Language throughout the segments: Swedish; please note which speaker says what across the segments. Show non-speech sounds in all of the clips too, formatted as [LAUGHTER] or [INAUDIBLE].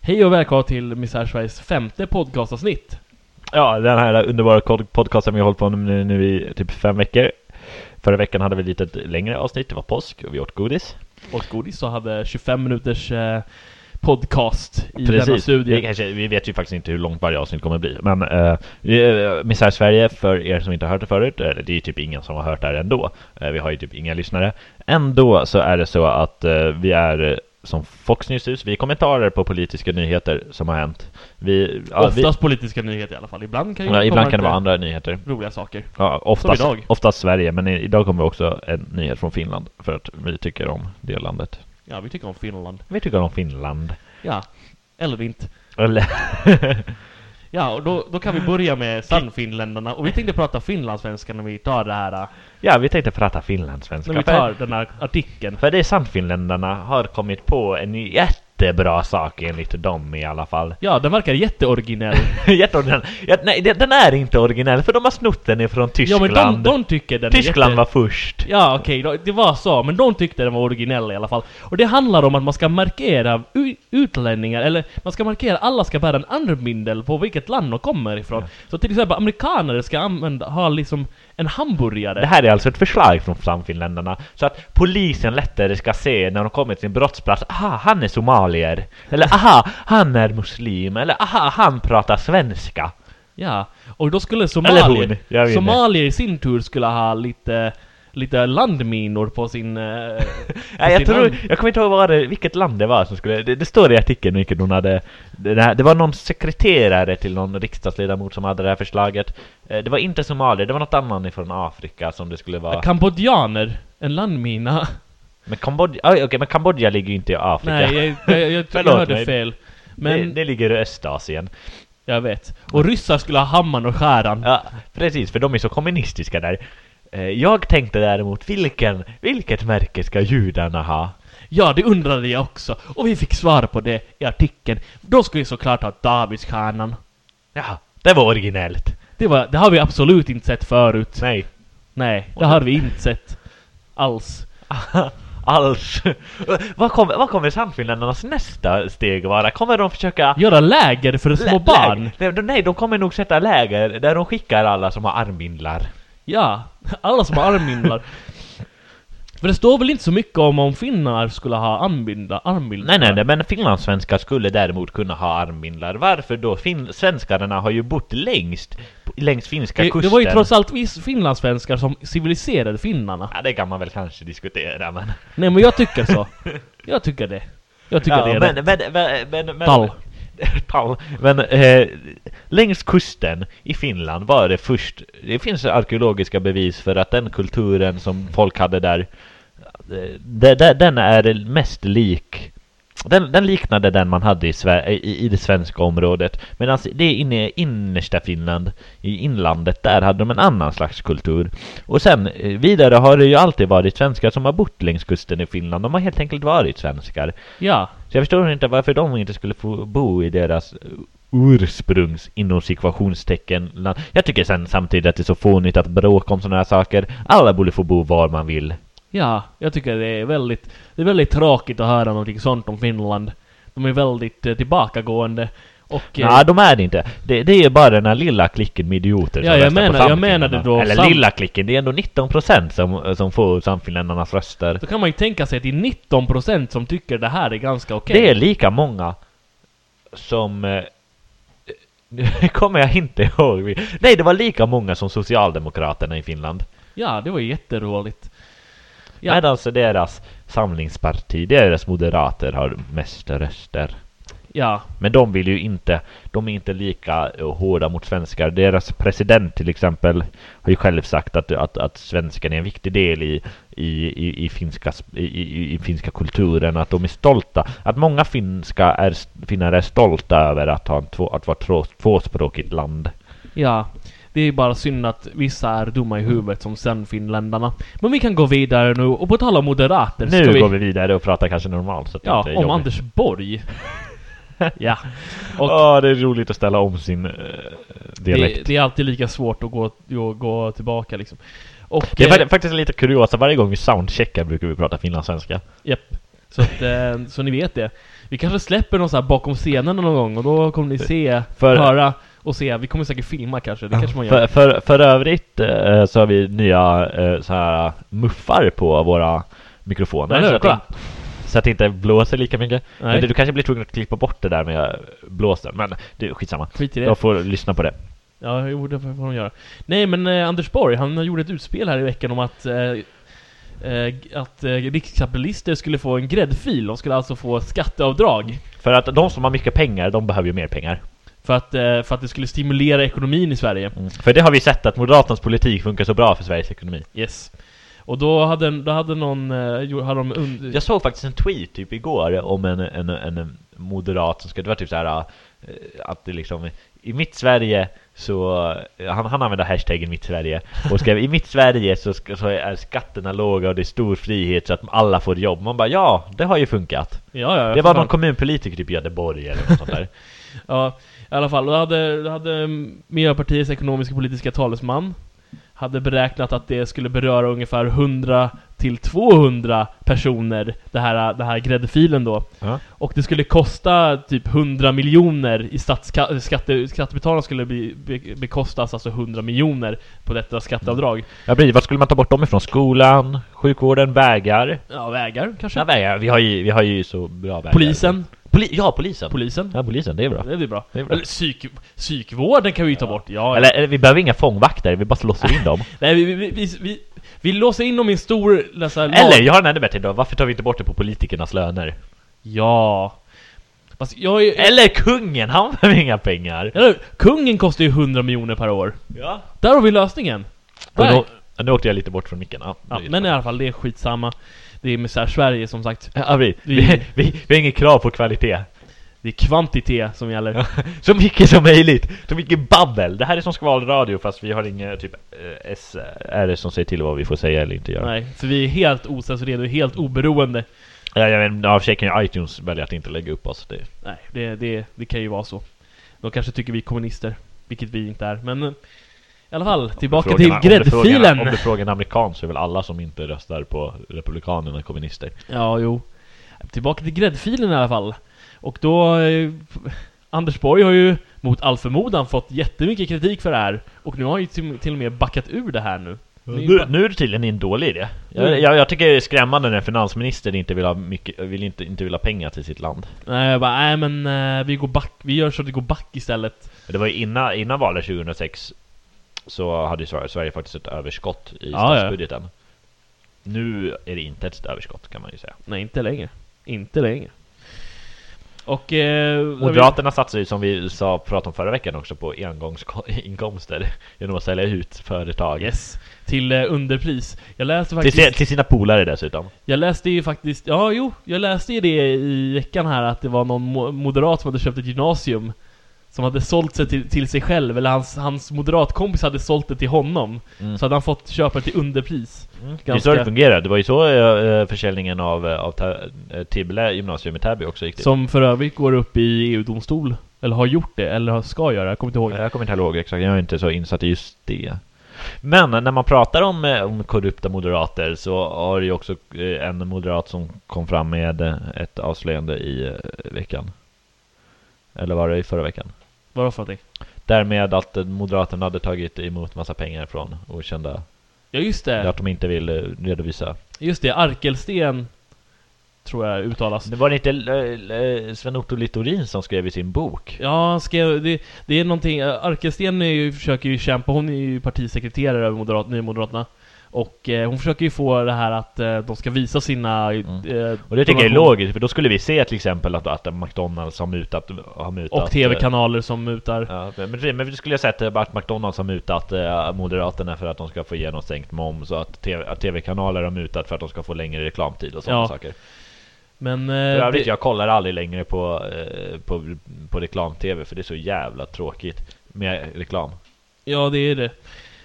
Speaker 1: Hej och välkomna till Misär Sveriges femte podcastavsnitt.
Speaker 2: Ja, den här underbara kod- podcasten vi har hållit på med nu, nu i typ fem veckor. Förra veckan hade vi lite ett längre avsnitt, det var påsk och vi åt godis.
Speaker 1: Och godis så hade 25 minuters eh, podcast i denna
Speaker 2: Vi,
Speaker 1: studie.
Speaker 2: kanske, vi vet ju faktiskt inte hur långt varje avsnitt kommer bli. Men eh, vi- Misär Sverige, för er som inte har hört det förut, eller det är ju typ ingen som har hört det här ändå. Eh, vi har ju typ inga lyssnare. Ändå så är det så att eh, vi är eh, som Fox News hus, vi är kommentarer på politiska nyheter som har hänt. Vi, ja, vi,
Speaker 1: Oftast politiska nyheter i alla fall. Ibland kan, ju
Speaker 2: ja,
Speaker 1: komma
Speaker 2: ibland kan det
Speaker 1: lite
Speaker 2: vara andra nyheter.
Speaker 1: roliga saker.
Speaker 2: Ja, oftast,
Speaker 1: idag.
Speaker 2: oftast Sverige, men i, idag kommer också en nyhet från Finland för att vi tycker om det landet.
Speaker 1: Ja, vi tycker om Finland.
Speaker 2: Vi tycker om Finland.
Speaker 1: Ja, eller inte.
Speaker 2: Eller, [LAUGHS]
Speaker 1: Ja, och då, då kan vi börja med Sannfinländarna. Och vi tänkte prata finlandssvenska när vi tar det här... eh,
Speaker 2: ja, vi tänkte prata finlandssvenska.
Speaker 1: När vi tar
Speaker 2: för,
Speaker 1: den här artikeln.
Speaker 2: för det är sant, finländarna har kommit på en jättebra sak enligt dem i alla fall. [LAUGHS]
Speaker 1: Ja, den verkar jätteoriginell.
Speaker 2: Jätteoriginell. Ja, nej, den, den är inte originell för de har snott den ifrån
Speaker 1: ja,
Speaker 2: Tyskland.
Speaker 1: men de, de tycker den
Speaker 2: Tyskland
Speaker 1: är jätte...
Speaker 2: var först.
Speaker 1: Ja okej, då- det var så, men de tyckte den var originell i alla fall. Och det handlar om att man ska markera u- utlänningar, eller man ska markera, alla ska bära en armbindel på vilket land de kommer ifrån. Så till exempel amerikaner ska använda, ha liksom en hamburgare.
Speaker 2: Det här är alltså ett förslag från Sannfinländarna så att polisen lättare ska se när de kommer till sin brottsplats. Aha, han är somalier. Eller aha, han är muslim. Eller aha, han pratar svenska.
Speaker 1: Ja, och då skulle
Speaker 2: Eller hon,
Speaker 1: somalier,
Speaker 2: jag vet inte.
Speaker 1: somalier i sin tur skulle ha lite, lite landminor på sin... eh, på
Speaker 2: [LAUGHS] Ja, jag,
Speaker 1: sin
Speaker 2: tror,
Speaker 1: arm.
Speaker 2: jag kommer inte ihåg vad det, vilket land det var som skulle... Det, det står i artikeln vilket hon hade... Det, här, det var någon sekreterare till någon riksdagsledamot som hade det här förslaget. Eh, Det var inte somalier, det var något annat från Afrika som det skulle vara.
Speaker 1: Kambodjaner, en landmina.
Speaker 2: Men Kambodja, oj, okej, men Kambodja ligger ju inte i Afrika.
Speaker 1: Nej, jag, jag, jag, jag, jag
Speaker 2: [LAUGHS] Förlåt
Speaker 1: hörde
Speaker 2: mig.
Speaker 1: fel.
Speaker 2: men...
Speaker 1: Men
Speaker 2: det, det ligger i Östasien.
Speaker 1: Jag vet. Och ryssar skulle ha hammaren och skäran.
Speaker 2: Ja, precis, för de är så kommunistiska där. Eh, Jag tänkte däremot, vilken, vilket märke ska judarna ha?
Speaker 1: Ja, det undrade jag också. Och vi fick svar på det i artikeln. Då skulle vi såklart ha Davidsstjärnan.
Speaker 2: Ja, det var originellt.
Speaker 1: Det, var, det har vi absolut inte sett förut.
Speaker 2: Nej, [LAUGHS]
Speaker 1: Nej, det har vi inte sett. Alls.
Speaker 2: alls. [LAUGHS] vad kommer, vad kommer Sannfinländarnas nästa steg vara? Kommer de försöka...
Speaker 1: Göra läger för små
Speaker 2: lä-
Speaker 1: barn.
Speaker 2: läger- de- Nej, de kommer nog sätta läger där de skickar alla som har armbindlar.
Speaker 1: Ja, alla som har armbindlar. För det står väl inte så mycket om om finnar skulle ha armbindlar? armbindlar.
Speaker 2: Nej, nej, nej, men finlandssvenskar skulle däremot kunna ha armbindlar. Varför då? Fin- svenskarna har ju bott längst, längs finska
Speaker 1: Det,
Speaker 2: kusten.
Speaker 1: det var ju trots allt vi finlandssvenskar som civiliserade finnarna.
Speaker 2: Ja, det kan man väl kanske diskutera, men...
Speaker 1: Nej men jag tycker
Speaker 2: [LAUGHS]
Speaker 1: så. Jag tycker det. Jag tycker det är
Speaker 2: men,
Speaker 1: rätt.
Speaker 2: men, men, men, men, [LAUGHS]
Speaker 1: Tall.
Speaker 2: Tall. Men eh, längs kusten i Finland var det först... Det finns arkeologiska bevis för att den kulturen som folk hade där, eh, de- de- den är mest lik den, den liknade den man hade i, Sve- i, i det svenska området Medan det inne i innersta Finland I inlandet där hade de en annan slags kultur Och sen eh, vidare har det ju alltid varit svenskar som har bott längs kusten i Finland De har helt enkelt varit svenskar
Speaker 1: Ja.
Speaker 2: så jag förstår inte varför de inte skulle få bo i deras ursprungs inom situationstecken land. Jag tycker sen samtidigt att det är så fånigt att bråka om sådana här saker. Alla borde få bo var man vill.
Speaker 1: Ja, jag tycker det är väldigt, det är väldigt tråkigt att höra någonting sånt om Finland. De är väldigt eh, tillbakagående och... eh,
Speaker 2: Nej, de är det inte. Det, det är ju bara den här lilla klicken med idioter
Speaker 1: Ja,
Speaker 2: som
Speaker 1: jag
Speaker 2: röstar på
Speaker 1: menar- jag
Speaker 2: Sannfinländarna.
Speaker 1: menade då
Speaker 2: Eller
Speaker 1: sam-
Speaker 2: lilla klicken, det är ändå 19% som, som får Sannfinländarnas röster.
Speaker 1: Då kan man ju tänka sig att det är 19% som tycker det här är ganska okej.
Speaker 2: Det är lika många som... eh, Nu [LAUGHS] kommer jag inte ihåg. Nej, det var lika många som Socialdemokraterna i Finland.
Speaker 1: Ja, det var ju jätteroligt. Ja.
Speaker 2: Ja. Medan så deras samlingsparti, deras moderater har mest röster.
Speaker 1: Ja,
Speaker 2: Men de vill ju inte, de är inte lika eh, hårda mot svenskar. Deras president till exempel har ju själv sagt att, att, att svenskan är en viktig del i, i, i, i, finska, sp- i, i, i finska kulturen, att de är stolta. Att många finska är, finnar är stolta över att, ha en två, att vara två, tvåspråkigt land.
Speaker 1: ja. Det är bara synd att vissa är dumma i huvudet som sen finländarna. Men vi kan gå vidare nu och på tal om moderater
Speaker 2: Nu
Speaker 1: ska vi...
Speaker 2: går vi vidare och pratar kanske normalt. Så att det
Speaker 1: Ja,
Speaker 2: inte är
Speaker 1: om
Speaker 2: jobbigt.
Speaker 1: Anders
Speaker 2: [LAUGHS]
Speaker 1: Borg. ja. Och-
Speaker 2: Ja, det är roligt att ställa om sin eh, dialekt.
Speaker 1: Det, det är alltid lika svårt att gå, gå, gå tillbaka liksom. Och...
Speaker 2: Det är
Speaker 1: eh,
Speaker 2: fakt- faktiskt lite kuriosa, varje gång vi soundcheckar brukar vi prata finlandssvenska.
Speaker 1: Japp. Så, att, eh, så ni vet det. Vi kanske släpper någon så här bakom scenen någon gång och då kommer ni se,
Speaker 2: För-
Speaker 1: höra och se. Vi kommer säkert filma kanske, det kanske man gör.
Speaker 2: För, för, för övrigt eh, så har vi nya eh, så här muffar på våra mikrofoner.
Speaker 1: Eller
Speaker 2: så,
Speaker 1: hur?
Speaker 2: att det,
Speaker 1: Kolla!
Speaker 2: så att det inte blåser lika mycket. Men
Speaker 1: Nej.
Speaker 2: det, du kanske blir tvungen att klippa bort det där med blåsten. Men du, skitsamma.
Speaker 1: Skit i det.
Speaker 2: Jag får lyssna på det.
Speaker 1: Ja, jo, det får de göra. Nej, men eh, Anders Borg, han gjorde ett utspel här i veckan om att eh, eh, g- att eh, rikskapitalister skulle få en gräddfil, de skulle alltså få skatteavdrag.
Speaker 2: För att de som har mycket pengar, de behöver ju mer pengar.
Speaker 1: För att, eh, för att det skulle stimulera ekonomin i Sverige.
Speaker 2: För det har vi sett att Moderaternas politik funkar så bra för Sveriges ekonomi.
Speaker 1: Yes. Och då hade, en- då hade någon, eh, gjort- hade de und-
Speaker 2: Jag såg faktiskt en tweet typ igår om en, en, en moderat som skulle, det var typ så här eh, att det liksom i mitt Sverige så, eh, han, han använde hashtaggen mitt Sverige och skrev i mitt Sverige så, ska- så är skatterna låga och det är stor frihet så att alla får jobb. Man bara ja, det har ju funkat.
Speaker 1: Ja, ja,
Speaker 2: Det
Speaker 1: för
Speaker 2: var
Speaker 1: fan.
Speaker 2: någon kommunpolitiker typ i Göteborg eller något sånt där.
Speaker 1: Ja, i alla fall. Då hade, då hade mm, Miljöpartiets ekonomiska politiska talesman hade beräknat att det skulle beröra ungefär 100 till 200 personer, det här, det här gräddfilen då.
Speaker 2: [LAUGHS] Ja.
Speaker 1: Och det skulle kosta typ 100 miljoner i statska, skatte, skattebetalarna skulle be, be, bekostas alltså 100 miljoner på detta skatteavdrag.
Speaker 2: Ja, precis. Vad skulle man ta bort dem ifrån? Skolan, sjukvården, vägar?
Speaker 1: Ja, vägar kanske?
Speaker 2: Ja, vägar. Vi har ju, vi har ju så bra vägar.
Speaker 1: Polisen?
Speaker 2: Poli ja, polisen.
Speaker 1: Polisen?
Speaker 2: ja, polisen. Det är bra.
Speaker 1: Det är bra.
Speaker 2: Det är bra.
Speaker 1: Eller psyk, psykvården kan vi ju ta bort. Ja, ja.
Speaker 2: Eller, eller vi behöver inga fångvakter, vi bara låser
Speaker 1: [LAUGHS]
Speaker 2: in dem.
Speaker 1: Nej, vi, vi, vi, vi, vi, vi låser in dem i en stor... Läsa,
Speaker 2: Eller, jag har en ännu bättre idag. Varför tar vi inte bort det på politikernas löner?
Speaker 1: Ja. Fast jag är...
Speaker 2: Eller kungen, han behöver inga pengar.
Speaker 1: Eller, kungen kostar ju 100 miljoner per år.
Speaker 2: Ja.
Speaker 1: Där har vi lösningen.
Speaker 2: Och
Speaker 1: Där.
Speaker 2: då, nu åkte jag lite bort från micken. Ja,
Speaker 1: Ja,
Speaker 2: det är
Speaker 1: men i
Speaker 2: bra.
Speaker 1: alla fall, det är skitsamma. Det är misär Sverige som sagt.
Speaker 2: ja, vi, vi,
Speaker 1: Vi-
Speaker 2: vi, vi har inget krav på kvalitet.
Speaker 1: Det är kvantitet som gäller.
Speaker 2: Så mycket som möjligt. Så mycket babbel. Det här är som skvalradio fast vi har inga typ eh, SR som säger till vad vi får säga eller inte göra.
Speaker 1: Nej, för vi är helt osensurerade och helt oberoende.
Speaker 2: Ja, jag menar, av sig kan ju iTunes välja att inte lägga upp oss. Det.
Speaker 1: Nej, det, det, det kan ju vara så. De kanske tycker vi är kommunister, vilket vi inte är. Men eh, i alla fall, tillbaka till
Speaker 2: Frågan- Om du, frågar, om
Speaker 1: gräddfilen.
Speaker 2: du frågar en amerikan så är väl alla som inte röstar på Republikanerna kommunister.
Speaker 1: Ja, jo. Tillbaka till gräddfilen i alla fall. Och då... Eh, Anders Borg har ju mot all förmodan fått jättemycket kritik för det här. Och nu har han ju till, till och med backat ur det här nu. Det är ju
Speaker 2: Nu,
Speaker 1: bara-
Speaker 2: nu är det tydligen en dålig idé. Jag,
Speaker 1: Mm.
Speaker 2: jag, jag tycker det är skrämmande när finansministern inte vill ha, mycket, vill inte, inte vill ha pengar till sitt land.
Speaker 1: Nej, jag bara, nej men eh, vi går back. Vi gör så att det går back istället.
Speaker 2: Men Det var ju innan, innan valet 2006 så hade ju Sverige, Sverige faktiskt ett överskott i
Speaker 1: Ja, ja.
Speaker 2: statsbudgeten. Nu är det inte ett överskott kan man ju säga.
Speaker 1: Nej, inte längre. Inte längre. Och... Eh,
Speaker 2: Moderaterna satsar ju som vi sa, pratade om förra veckan också på engångsinkomster genom att sälja ut företag.
Speaker 1: Yes. Till eh, underpris. Jag läste
Speaker 2: Till,
Speaker 1: faktiskt...
Speaker 2: si- till sina polare dessutom.
Speaker 1: Jag läste ju faktiskt, ja jo, jag läste ju det i veckan här att det var någon mo- moderat som hade köpt ett gymnasium Som hade sålt sig till, till sig själv, eller hans, hans moderatkompis hade sålt det till honom
Speaker 2: Mm.
Speaker 1: Så hade han fått köpa det till underpris
Speaker 2: Det är så det fungerar. Det var ju så eh, försäljningen av, eh, av Ta- eh, Tibble gymnasium i Täby också gick till.
Speaker 1: Som för övrigt går upp i EU-domstol Eller har gjort det, eller har- ska göra, jag kommer inte ihåg
Speaker 2: Jag kommer inte ihåg exakt, jag är inte så insatt i just det. Men när man pratar om, eh, om korrupta moderater så har det ju också eh, en moderat som kom fram med eh, ett avslöjande i eh, veckan. Eller var det i förra veckan?
Speaker 1: Vad var det för någonting?
Speaker 2: Därmed att eh, moderaterna hade tagit emot massa pengar från okända,
Speaker 1: Ja just det,
Speaker 2: att de inte vill eh, redovisa.
Speaker 1: just det, Arkelsten Tror jag uttalas
Speaker 2: Det var det inte eh, eh, Sven-Otto Littorin som skrev i sin bok?
Speaker 1: Ja, han skrev, det, det är någonting, Arkelsten är ju, försöker ju kämpa, hon är ju partisekreterare över moderat, Nymoderaterna. Och eh, hon försöker ju få det här att eh, de ska visa sina... Eh,
Speaker 2: Mm. Och det tycker jag är
Speaker 1: donation-
Speaker 2: logiskt, för då skulle vi se till exempel att, att McDonalds har mutat... Har mutat eh,
Speaker 1: Och TV-kanaler som mutar.
Speaker 2: Ja, men, men vi skulle ha sett eh, att McDonalds har mutat eh, Moderaterna för att de ska få igenom sänkt moms och att TV- att TV-kanaler har mutat för att de ska få längre reklamtid och sådana
Speaker 1: Ja.
Speaker 2: saker.
Speaker 1: Men...
Speaker 2: För
Speaker 1: Eh,
Speaker 2: övrigt,
Speaker 1: det,
Speaker 2: jag kollar aldrig längre på, eh, på, på reklam-TV för det är så jävla tråkigt med reklam.
Speaker 1: ja, det är det.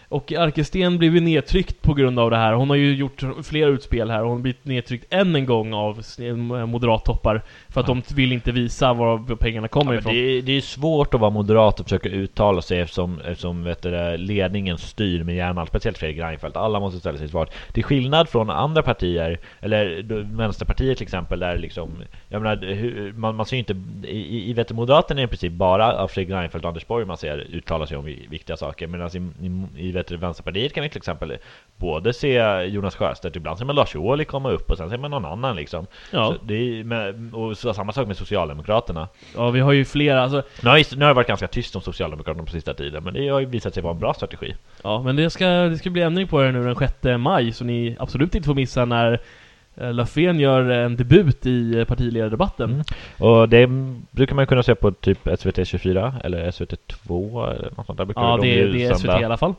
Speaker 1: Och Arkesten blev ju nedtryckt på grund av det här. Hon har ju gjort flera utspel här och hon har blivit nedtryckt än en gång av s- eh, moderattoppar. För att de vill inte visa var pengarna kommer
Speaker 2: Ja,
Speaker 1: ifrån.
Speaker 2: men det, är, det är svårt att vara moderat och försöka uttala sig eftersom, eftersom vet du, det, ledningen styr med järnhand, speciellt Fredrik Reinfeldt. Alla måste ställa sig svart. Till skillnad från andra partier, eller då, Vänsterpartiet till exempel, där liksom, jag menar, hur, man, man ser ju inte, i, i- i vet du, Moderaterna är i princip bara av Fredrik Reinfeldt och Anders Borg man ser uttala sig om vi- viktiga saker. Medan i, i, i vet du, Vänsterpartiet kan vi till exempel både se Jonas Sjöstedt, ibland ser man Lars Ohly komma upp och sen ser man någon annan liksom.
Speaker 1: Ja.
Speaker 2: Så det är, men- och så, samma sak med Socialdemokraterna.
Speaker 1: Ja, vi har ju flera. Alltså,
Speaker 2: Nu har, ju- nu har det varit ganska tyst om Socialdemokraterna på sista tiden, men det har ju visat sig vara en bra strategi.
Speaker 1: Ja, men det ska, det ska bli ändring på det nu den 6 maj, så ni absolut inte får missa när eh, Löfven gör en debut i eh, partiledardebatten.
Speaker 2: Mm. Och det brukar man ju kunna se på typ SVT 24 eller SVT 2 eller något sånt där. brukar
Speaker 1: Ja,
Speaker 2: de
Speaker 1: det,
Speaker 2: ju
Speaker 1: det är SVT i
Speaker 2: sända.
Speaker 1: alla fall.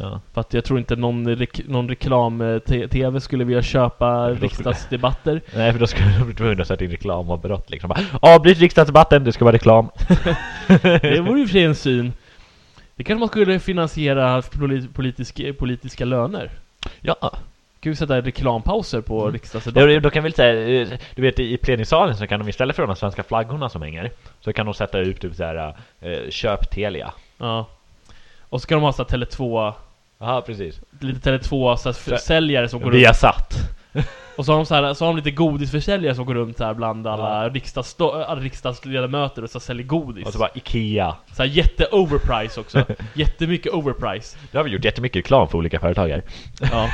Speaker 2: Ja.
Speaker 1: För att jag tror inte någon, rek- någon reklam-tv skulle vilja
Speaker 2: [LAUGHS]
Speaker 1: köpa
Speaker 2: skulle-
Speaker 1: riksdagsdebatter.
Speaker 2: Nej, för då skulle de bli tvungna att sätta in reklamavbrott liksom. Bara, Avbryt riksdagsdebatten, det ska vara reklam.
Speaker 1: Det vore i och för sig en syn. Det kanske man skulle finansiera poli- politisk, politiska löner.
Speaker 2: ja.
Speaker 1: Kan vi sätta reklampauser på
Speaker 2: Mm.
Speaker 1: riksdagsdebatter?
Speaker 2: Då, då kan vi väl säga, eh, du vet i i plenisalen så kan de istället för de här svenska flaggorna som hänger, så kan de sätta ut typ såhär, eh, köp Telia.
Speaker 1: Ja. Och så kan de ha så här Tele2,
Speaker 2: Ja, precis.
Speaker 1: lite Tele2 så här
Speaker 2: Så-
Speaker 1: försäljare som går runt
Speaker 2: Vi har satt.
Speaker 1: Och så har de, så här, så har de lite godisförsäljare som går runt så här bland alla riksdagssto- alla riksdagsledamöter och så säljer godis.
Speaker 2: Och så bara Ikea.
Speaker 1: Så här jätte-overprice
Speaker 2: [LAUGHS]
Speaker 1: också. Jättemycket overprice.
Speaker 2: Nu har vi gjort jättemycket reklam för olika företag här.
Speaker 1: Ja.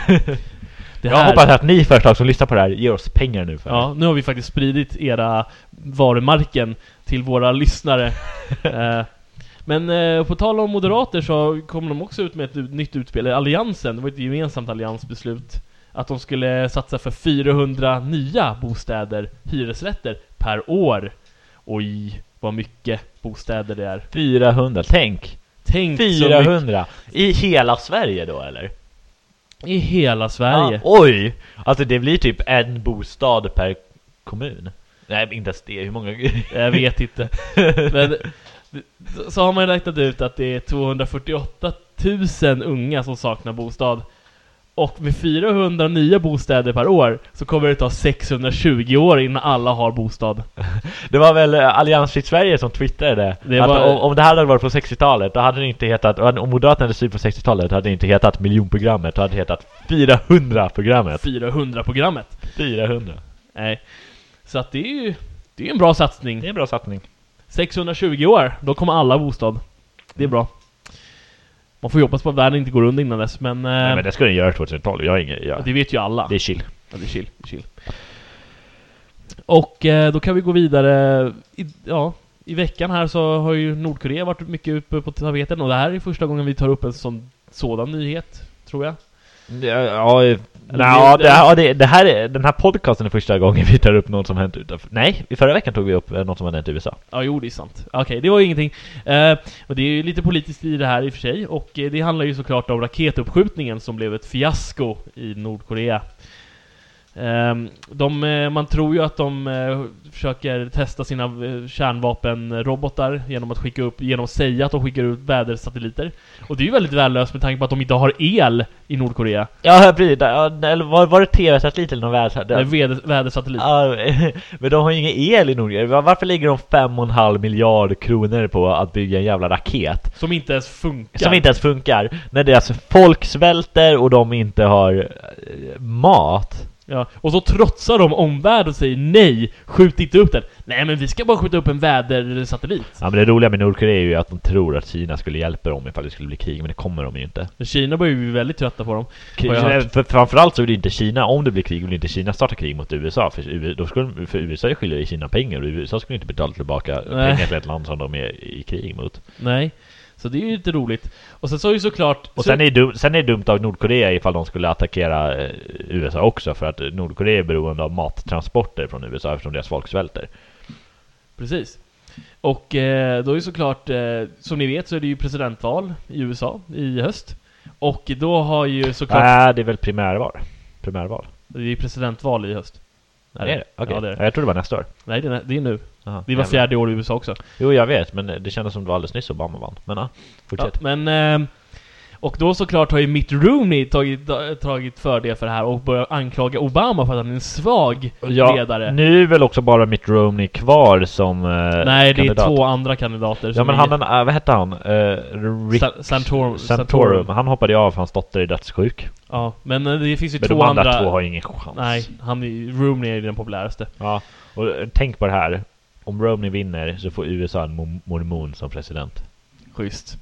Speaker 1: Det
Speaker 2: Jag hoppas att ni företag som lyssnar på det här ger oss pengar nu för
Speaker 1: Ja, nu har vi faktiskt spridit era varumärken till våra lyssnare. Eh, Men eh, på tal om moderater så kom de också ut med ett ut- nytt utspel, eller Alliansen, det var ett gemensamt alliansbeslut. Att de skulle satsa för 400 nya bostäder, hyresrätter, per år. Oj, vad mycket bostäder det är.
Speaker 2: 400, tänk!
Speaker 1: Tänk så
Speaker 2: 400! I hela Sverige då eller?
Speaker 1: mycket i hela Sverige.
Speaker 2: Ja, oj! Alltså det blir typ en bostad per kommun. Nej, inte ens det. Hur många?
Speaker 1: Jag vet
Speaker 2: [LAUGHS]
Speaker 1: inte. Men så har man ju räknat ut att det är 248 000 unga som saknar bostad. Och med 400 nya bostäder per år så kommer det ta 620 år innan alla har bostad.
Speaker 2: Det var väl eh, Alliansfritt Sverige som twittrade
Speaker 1: Det
Speaker 2: att
Speaker 1: var-
Speaker 2: om, om det här hade varit på 60-talet, då hade det inte hetat... Om Moderaterna hade styrt på 60-talet, hade det inte hetat miljonprogrammet, då hade det hetat 400-programmet.
Speaker 1: 400-programmet.
Speaker 2: 400.
Speaker 1: Nej. Så att det är ju det är ju en bra satsning.
Speaker 2: Det är en bra satsning.
Speaker 1: 620 år, då kommer alla ha bostad. Det är bra. Man får ju hoppas på att världen inte går under innan dess, men,
Speaker 2: Nej,
Speaker 1: eh,
Speaker 2: men det ska den göra 2012. Jag har inget... Jag,
Speaker 1: det vet ju alla.
Speaker 2: det är chill.
Speaker 1: Ja, det är chill. Det är chill. Och eh, då kan vi gå vidare. I, ja, I veckan här så har ju Nordkorea varit mycket uppe på tapeten och det här är första gången vi tar upp en sån, sådan nyhet, tror jag.
Speaker 2: Ja, ja, eh,
Speaker 1: Eller
Speaker 2: nja,
Speaker 1: det-
Speaker 2: det, ja det, det här är, den här podcasten är första gången vi tar upp något som hänt utanför... Nej, i förra veckan tog vi upp eh, något som hade hänt i USA.
Speaker 1: Ja, jo, det är sant. Okej, det var ju ingenting. Eh, men det är ju lite politiskt i det här i och för sig och eh, det handlar ju såklart om raketuppskjutningen som blev ett fiasko i Nordkorea. Ehm, de, eh, man tror ju att de eh, försöker testa sina eh, kärnvapenrobotar genom att skicka upp, genom att säga att de skickar ut vädersatelliter. Och det är ju väldigt vällöst med tanke på att de inte har el i Nordkorea.
Speaker 2: Ja, precis. Där, ja, Eller var, var det TV-satellit eller någon
Speaker 1: Eller
Speaker 2: världsatellit?
Speaker 1: väder, vädersatellit.
Speaker 2: Ja, [LAUGHS] men de har ju ingen el i Nordkorea. Var- Varför lägger de 5,5 miljard kronor på att bygga en jävla raket?
Speaker 1: Som inte ens funkar.
Speaker 2: Som inte ens funkar. När deras folk svälter och de inte har eh, mat.
Speaker 1: Ja, och så trotsar de omvärlden och säger nej, skjut inte upp den. Nej men vi ska bara skjuta upp en vädersatellit.
Speaker 2: Ja, men det roliga med Nordkorea är ju att de tror att Kina skulle hjälpa dem ifall det skulle bli krig, men det kommer de ju inte.
Speaker 1: Men Kina börjar ju bli väldigt trötta på dem.
Speaker 2: K-
Speaker 1: Har jag hört.
Speaker 2: För, framförallt så vill inte Kina, om det blir krig, vill inte Kina starta krig mot USA. För, U- då skulle, för USA skiljer i Kina pengar och USA skulle inte betala tillbaka
Speaker 1: Nej.
Speaker 2: pengar till ett land som de är i krig mot.
Speaker 1: Nej. Så det är ju lite roligt. Och sen så är ju såklart...
Speaker 2: Och sen är, det dum, sen är det dumt av Nordkorea ifall de skulle attackera eh, USA också för att eh, Nordkorea är beroende av mattransporter från USA eftersom deras folk svälter.
Speaker 1: Precis. Och eh, då är ju såklart, eh, som ni vet så är det ju presidentval i USA i höst. Och då har ju såklart...
Speaker 2: Nej, Äh, det är väl primärval? Primärval?
Speaker 1: Det är ju presidentval i höst.
Speaker 2: Är det? Okej.
Speaker 1: Ja, det är det.
Speaker 2: Jag tror det var nästa år.
Speaker 1: Nej, det är, det är nu.
Speaker 2: Aha,
Speaker 1: Det var
Speaker 2: jävlar.
Speaker 1: fjärde år i USA också.
Speaker 2: Jo, jag vet, men det kändes som det var alldeles nyss Obama vann. Men ja,
Speaker 1: Ja,
Speaker 2: fortsätt.
Speaker 1: men eh, Och då såklart har ju Mitt Rooney tagit, tagit för det för det här och börjat anklaga Obama för att han är en svag ledare.
Speaker 2: nu är väl också bara Mitt Romney kvar som eh,
Speaker 1: Nej, det är
Speaker 2: kandidat.
Speaker 1: två andra kandidater
Speaker 2: Ja
Speaker 1: som
Speaker 2: men
Speaker 1: är-
Speaker 2: han den, äh, vad hette han? Eh, Rick
Speaker 1: Sa- Santorum.
Speaker 2: Santorum. Han hoppade ju av för hans dotter är dödssjuk.
Speaker 1: Ja, men eh, det finns ju
Speaker 2: Men
Speaker 1: två
Speaker 2: de andra
Speaker 1: andra...
Speaker 2: två har ju ingen chans.
Speaker 1: Nej, han är, ju- Rooney är ju den populäraste.
Speaker 2: Ja, och eh, tänk på det här. Om Romney vinner så får USA en mor- mormon som president.
Speaker 1: Schysst.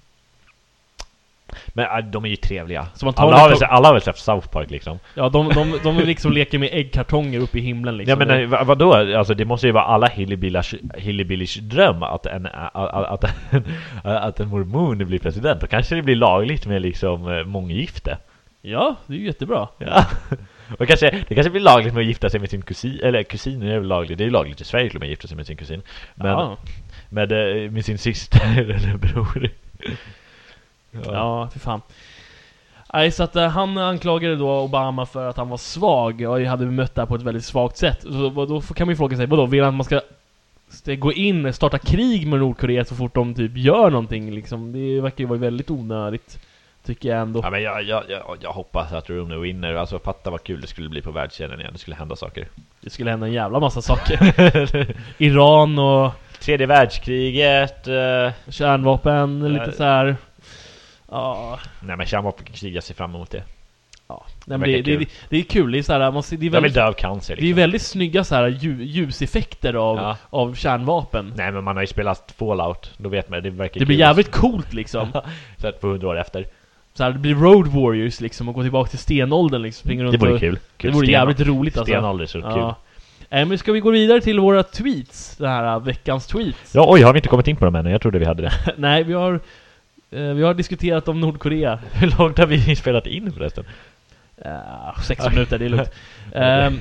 Speaker 2: Men äh, de är ju trevliga.
Speaker 1: Så man tar
Speaker 2: Alla har, väl,
Speaker 1: lite-
Speaker 2: se- alla har väl sett South Park liksom?
Speaker 1: Ja, de, de, de liksom leker med äggkartonger uppe i himlen liksom.
Speaker 2: ja men eh, vad- vadå? Alltså det måste ju vara alla hillybillars, hillybillars dröm att en, a- a- att, en, [LAUGHS] att en mormon blir president. Då kanske det blir lagligt med liksom eh, månggifte. [LAUGHS]
Speaker 1: Ja, det är ju jättebra.
Speaker 2: Ja. Och kanske, det kanske blir lagligt med att gifta sig med sin kusin, eller kusiner är väl lagligt, det är ju lagligt i Sverige till och med att gifta sig med sin kusin. Men
Speaker 1: ja.
Speaker 2: med, eh, med sin syster [LAUGHS] eller bror.
Speaker 1: ja, för fan. Nej, så att eh, han anklagade då Obama för att han var svag och hade bemött det här på ett väldigt svagt sätt. Så vad- då får- kan man ju fråga sig, vadå, vill han att man ska st- gå in, starta krig med Nordkorea så fort de typ gör någonting liksom? Det verkar ju vara väldigt onödigt. Tycker jag ändå.
Speaker 2: Ja, men jag, jag, jag, jag hoppas att Rooney vinner, alltså fatta vad kul det skulle bli på världsscenen igen, det skulle hända saker.
Speaker 1: Det skulle hända en jävla massa saker. [LAUGHS] Iran och
Speaker 2: Tredje världskriget, eh,
Speaker 1: kärnvapen, lite
Speaker 2: Nej.
Speaker 1: så här. Ja,
Speaker 2: nej men kärnvapenkrig, jag ser fram emot det.
Speaker 1: ja. Nej, men
Speaker 2: verkar
Speaker 1: det, det,
Speaker 2: kul.
Speaker 1: det, det är kul, det är så här, man ser, det är
Speaker 2: Jag vill
Speaker 1: väldigt,
Speaker 2: dö av cancer
Speaker 1: det är
Speaker 2: liksom.
Speaker 1: väldigt snygga så här, ljus, ljuseffekter av,
Speaker 2: Ja.
Speaker 1: av kärnvapen.
Speaker 2: Nej men man har ju spelat Fallout, då vet man, det verkar
Speaker 1: Det blir
Speaker 2: kul.
Speaker 1: jävligt coolt liksom.
Speaker 2: Så att 200 år efter.
Speaker 1: Så här, det blir Road Warriors liksom och gå tillbaka till stenåldern liksom. Springer
Speaker 2: Det
Speaker 1: runt
Speaker 2: vore
Speaker 1: och,
Speaker 2: kul.
Speaker 1: Det
Speaker 2: kul.
Speaker 1: vore
Speaker 2: sten-
Speaker 1: jävligt roligt alltså.
Speaker 2: Stenålder, så kul.
Speaker 1: Ja. Eh, men ska vi gå vidare till våra tweets? Den här eh, veckans tweets?
Speaker 2: Ja, oj, har vi inte kommit in på dem ännu? Jag trodde vi hade det. [LAUGHS]
Speaker 1: [LAUGHS] Nej, vi har, eh, vi har diskuterat om Nordkorea. [LAUGHS]
Speaker 2: Hur långt har vi spelat in förresten?
Speaker 1: Uh, 16 minuter, det är lugnt. Ehm,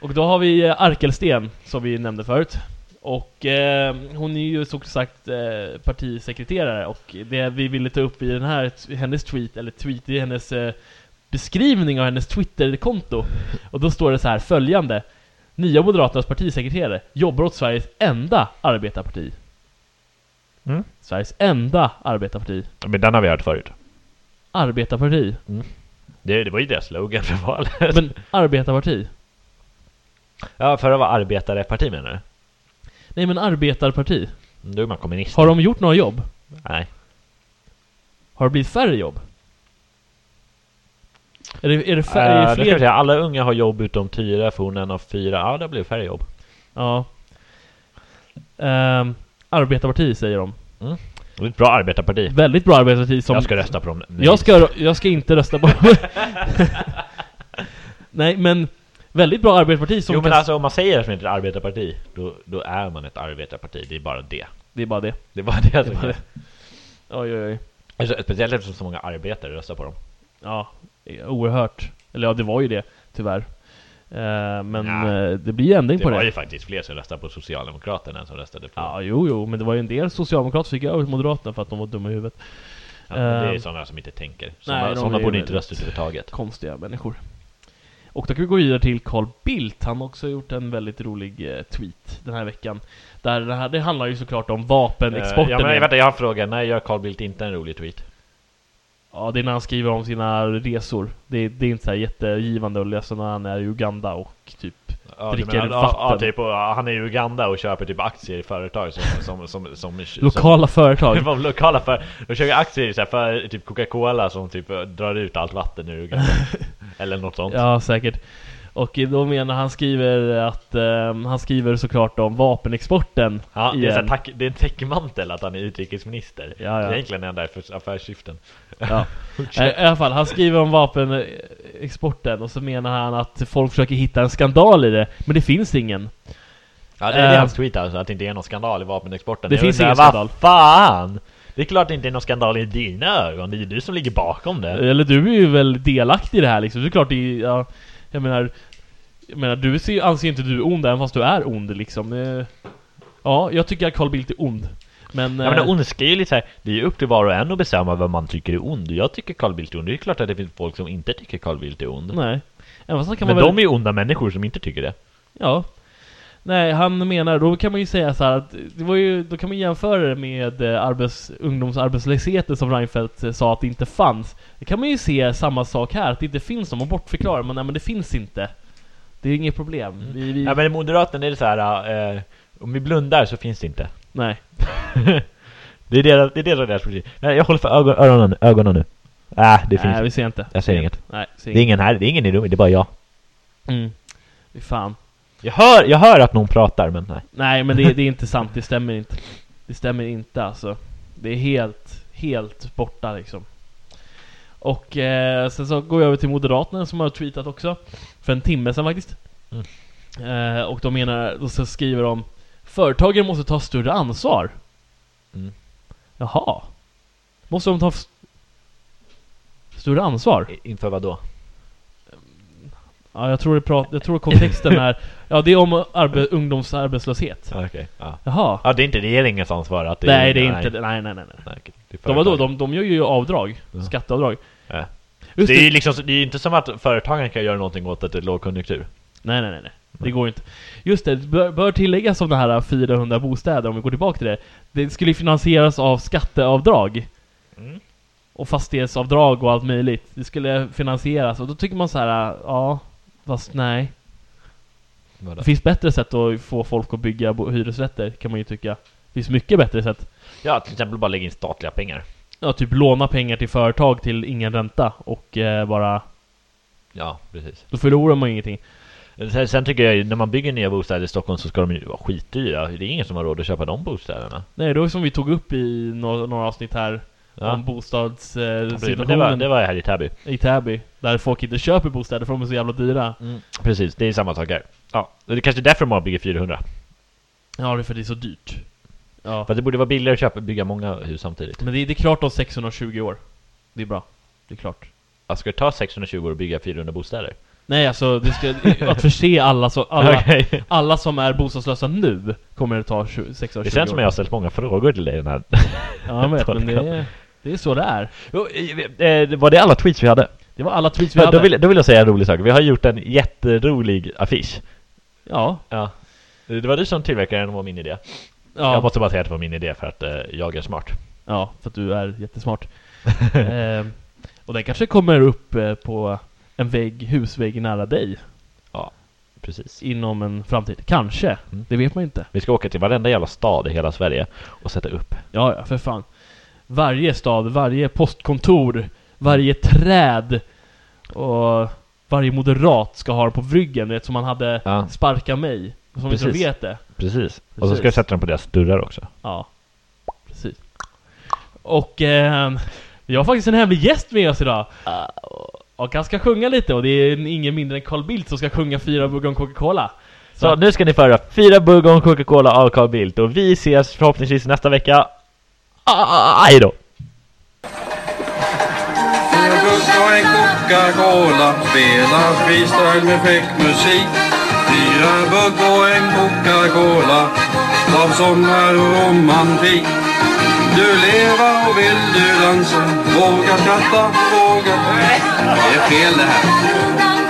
Speaker 1: och då har vi eh, Arkelsten, som vi nämnde förut. Och eh, hon är ju så sagt eh, partisekreterare och det vi ville ta upp i den här, t- hennes tweet, eller tweet, i hennes eh, beskrivning av hennes Twitterkonto. Och då står det så här följande. Nya Moderaternas partisekreterare jobbar åt Sveriges enda arbetarparti.
Speaker 2: Mm.
Speaker 1: Sveriges enda arbetarparti.
Speaker 2: Men den har vi hört förut.
Speaker 1: Arbetarparti.
Speaker 2: Det, det var ju deras slogan för valet.
Speaker 1: Men arbetarparti.
Speaker 2: [LAUGHS] Ja, för att vara arbetareparti menar du?
Speaker 1: Nej men arbetarparti.
Speaker 2: Mm, Då är man kommunist.
Speaker 1: Har de gjort några jobb?
Speaker 2: Nej.
Speaker 1: Har det blivit färre jobb? Är det, är det, fär,
Speaker 2: Färg,
Speaker 1: är det
Speaker 2: Eh, ska vi
Speaker 1: fler?
Speaker 2: säga, alla unga har jobb utom Tyra, för hon är en av fyra. Ja, det blev färre jobb.
Speaker 1: Ja. Um, arbetarparti säger de.
Speaker 2: Det är ett bra arbetarparti.
Speaker 1: Väldigt bra arbetarparti som...
Speaker 2: Jag ska rösta på dem. nu.
Speaker 1: jag ska, jag ska inte rösta på [LAUGHS] Nej men, väldigt bra arbetarparti som
Speaker 2: Jo men
Speaker 1: kan-
Speaker 2: alltså om man säger att man inte är ett arbetarparti, då, då är man ett arbetarparti. Det är bara det.
Speaker 1: Det är bara det.
Speaker 2: Det är bara [LAUGHS] det.
Speaker 1: Det är bara det. [LAUGHS] Oj oj oj.
Speaker 2: Alltså, speciellt eftersom så många arbetare röstar på dem.
Speaker 1: Ja, oerhört. Eller ja, det var ju det, tyvärr. Eh, men
Speaker 2: Ja.
Speaker 1: eh, det blir ändring
Speaker 2: Det
Speaker 1: på
Speaker 2: var
Speaker 1: det.
Speaker 2: ju faktiskt fler som röstade på Socialdemokraterna än som röstade på...
Speaker 1: Ja, jo, jo, men det var ju en del socialdemokrater som gick över till Moderaterna för att de var dumma i huvudet.
Speaker 2: Ja, men det är
Speaker 1: Ehm.
Speaker 2: sådana som inte tänker.
Speaker 1: Nej,
Speaker 2: Sådana,
Speaker 1: de
Speaker 2: sådana
Speaker 1: är
Speaker 2: borde
Speaker 1: ju
Speaker 2: inte
Speaker 1: väldigt- Eh,
Speaker 2: rösta överhuvudtaget.
Speaker 1: Konstiga människor. Och då kan vi gå vidare till Carl Bildt. Han har också gjort en väldigt rolig eh, tweet den här veckan. Där det, här, det handlar ju såklart om vapenexporten.
Speaker 2: Eh, ja, men,
Speaker 1: igen.
Speaker 2: vänta, jag har en fråga. När gör Carl Bildt inte en rolig tweet?
Speaker 1: ja, det är när han skriver om sina resor. Det, det är inte så här jättegivande att läsa när han är i Uganda och typ...
Speaker 2: Ja,
Speaker 1: Dricker
Speaker 2: du menar- ja,
Speaker 1: vatten.
Speaker 2: Ja, typ, och, ja, han är i Uganda och köper typ aktier i företag som... som, som, som, som
Speaker 1: Lokala företag.
Speaker 2: [LAUGHS] Som, som lokala för, de köper aktier i så här för typ Coca-Cola som typ eh, drar ut allt vatten ur Uganda.
Speaker 1: [LAUGHS]
Speaker 2: Eller något
Speaker 1: [LAUGHS]
Speaker 2: sånt.
Speaker 1: Ja, säkert. Och då menar han skriver att... Eh, han skriver såklart om vapenexporten.
Speaker 2: Ja, det, är
Speaker 1: igen.
Speaker 2: så här, tack, det är en täckmantel att han är utrikesminister.
Speaker 1: Ja, ja.
Speaker 2: Det är egentligen enda för affärssyften.
Speaker 1: Ja. I Eh, i alla fall, han skriver om vapenexporten och så menar han att folk försöker hitta en skandal i det, men det finns ingen.
Speaker 2: Ja, det är det
Speaker 1: Eh.
Speaker 2: hans tweet alltså, att det inte är någon skandal i vapenexporten.
Speaker 1: Det
Speaker 2: Jag
Speaker 1: finns
Speaker 2: undrar,
Speaker 1: ingen
Speaker 2: vad
Speaker 1: skandal.
Speaker 2: fan! Det är klart det inte är någon skandal i dina ögon, det är ju du som ligger bakom det.
Speaker 1: Eller du är ju väl delaktig i det här liksom, det är klart det är, ja, jag menar, jag menar du ser, anser inte du ond även fast du är ond liksom. Det, ja, jag tycker att Carl Bildt är ond. Men,
Speaker 2: Ja, men
Speaker 1: eh,
Speaker 2: det ondska är ju lite så här, det är ju upp till var och en att bestämma vad man tycker är ond. Jag tycker Carl Bildt är ond, det är ju klart att det finns folk som inte tycker Carl Bildt är ond.
Speaker 1: nej. Även fast han kan
Speaker 2: men
Speaker 1: vara
Speaker 2: de är ju onda människor som inte tycker det.
Speaker 1: Ja. Nej, han menar, då kan man ju säga så här att det var ju, då kan man jämföra det med eh, arbets, ungdomsarbetslösheten som Reinfeldt eh, sa att det inte fanns. Det kan man ju se samma sak här, att det inte finns någon, och bortförklara, men nej men det finns inte. Det är inget problem. Vi, vi,
Speaker 2: Ja men i Moderaterna är det så här. eh, om vi blundar så finns det inte.
Speaker 1: nej.
Speaker 2: det är det, det är det som är deras politik. Nej, jag håller för ögon, öronen, ögonen nu. Äh, det finns
Speaker 1: nej, vi
Speaker 2: inte.
Speaker 1: ser inte.
Speaker 2: Jag säger inget.
Speaker 1: Nej, vi ser
Speaker 2: Det är
Speaker 1: inget.
Speaker 2: ingen här, det är ingen i rummet, det är bara jag.
Speaker 1: Mm. Fy Fan.
Speaker 2: Jag hör, jag hör att någon pratar men nej.
Speaker 1: Nej men det, det är inte sant, det stämmer inte. Det stämmer inte alltså. Det är helt, helt borta liksom. Och eh, sen så går jag över till Moderaterna som har tweetat också. För en timme sedan faktiskt. Eh, och de menar, och så skriver de Företagen måste ta större ansvar.
Speaker 2: Mm.
Speaker 1: Jaha. Måste de ta f- större ansvar?
Speaker 2: I- Inför vad då?
Speaker 1: Ja, jag tror, det prat, jag tror kontexten är... Ja, det är om arbe, ungdomsarbetslöshet.
Speaker 2: Okej. Ja.
Speaker 1: Jaha.
Speaker 2: ja, det är inte regeringens ansvar att det
Speaker 1: nej, det är inte... Nej, nej, nej. nej.
Speaker 2: nej, okej. Det är
Speaker 1: De, vadå,
Speaker 2: företagen.
Speaker 1: de, de gör ju avdrag,
Speaker 2: Ja.
Speaker 1: skatteavdrag.
Speaker 2: Ja.
Speaker 1: Just
Speaker 2: Det är ju liksom, det är ju inte som att företagen kan göra någonting åt att det är lågkonjunktur.
Speaker 1: Nej, nej, nej, nej. Det går ju inte. Just det, det bör, bör tilläggas om de här 400 bostäder, om vi går tillbaka till det. Det skulle ju finansieras av skatteavdrag.
Speaker 2: Mm.
Speaker 1: Och fastighetsavdrag och allt möjligt. Det skulle finansieras och då tycker man så här, ja, fast nej. Det finns bättre sätt att få folk att bygga bo- hyresrätter, kan man ju tycka. Det finns mycket bättre sätt.
Speaker 2: Ja, till exempel bara lägga in statliga pengar.
Speaker 1: Ja, typ låna pengar till företag till ingen ränta och eh, bara...
Speaker 2: Ja, precis.
Speaker 1: Då förlorar man ju ingenting.
Speaker 2: Sen, sen tycker jag ju, när man bygger nya bostäder i Stockholm så ska de ju vara skitdyra. Det är ingen som har råd att köpa de bostäderna.
Speaker 1: Nej, det var ju som vi tog upp i några, några avsnitt här
Speaker 2: Ja.
Speaker 1: om
Speaker 2: Precis, men det, var,
Speaker 1: bostadssituationen
Speaker 2: det var här i Täby.
Speaker 1: i Täby. Där folk inte köper bostäder för de är så jävla dyra.
Speaker 2: Precis, det är samma sak här. Ja. Det är kanske därför man bygger 400.
Speaker 1: Ja, det är för det är så dyrt. Ja.
Speaker 2: För att det borde vara billigare att köpa, bygga många hus samtidigt.
Speaker 1: Men det, det är klart om 620 år. Det är bra. Det är klart.
Speaker 2: Ja, ska det ta 620 år att bygga 400 bostäder?
Speaker 1: Nej, alltså det
Speaker 2: [LAUGHS]
Speaker 1: ska, att förse alla, så, alla,
Speaker 2: Okej.
Speaker 1: alla som är bostadslösa nu kommer det ta 20, 620 år.
Speaker 2: Det känns som jag har ställt många frågor till dig den här.
Speaker 1: Ja, jag vet, men det är,
Speaker 2: [LAUGHS]
Speaker 1: det är så det är.
Speaker 2: Jo, eh, Var det alla tweets vi hade?
Speaker 1: Det var alla tweets vi
Speaker 2: Ja,
Speaker 1: hade.
Speaker 2: då, vill, då vill jag säga en rolig sak. Vi har gjort en jätterolig affisch.
Speaker 1: Ja.
Speaker 2: Ja. Det var du som tillverkade den, det var min idé. Jag
Speaker 1: Ja.
Speaker 2: måste bara säga att det var min idé för att eh, jag är smart.
Speaker 1: ja, för att du är jättesmart.
Speaker 2: [LAUGHS]
Speaker 1: Ehm, och den kanske kommer upp eh, på en vägg, husvägg nära dig
Speaker 2: Precis.
Speaker 1: inom en framtid. Kanske.
Speaker 2: Mm.
Speaker 1: Det vet man inte.
Speaker 2: Vi ska åka till varenda jävla stad i hela Sverige och sätta upp.
Speaker 1: Ja, ja, för fan. Varje stad, varje postkontor, varje träd och varje moderat ska ha den på ryggen, vet, som man hade
Speaker 2: Ja.
Speaker 1: sparka mig. Som inte
Speaker 2: Precis.
Speaker 1: vet det.
Speaker 2: Precis. Och så ska
Speaker 1: Precis.
Speaker 2: jag sätta den på deras dörrar också.
Speaker 1: Ja, precis. Och ehm, vi har faktiskt en hemlig gäst med oss idag. Och- Och han ska sjunga lite och det är ingen mindre än Carl Bildt som ska sjunga Fyra bugg om Coca-Cola.
Speaker 2: Så nu ska ni föra fyra bugg och en Coca-Cola av Carl Bildt och vi ses förhoppningsvis nästa vecka. Aj då!
Speaker 3: Jag bussar en Coca-Cola, spelar freestyle med fräck musik. Fyra bugg och en Coca-Cola, av sommar och romantik. Du lever och vill du dansa, våga skratta, våga... Det är fel det här.
Speaker 4: Dum, dum,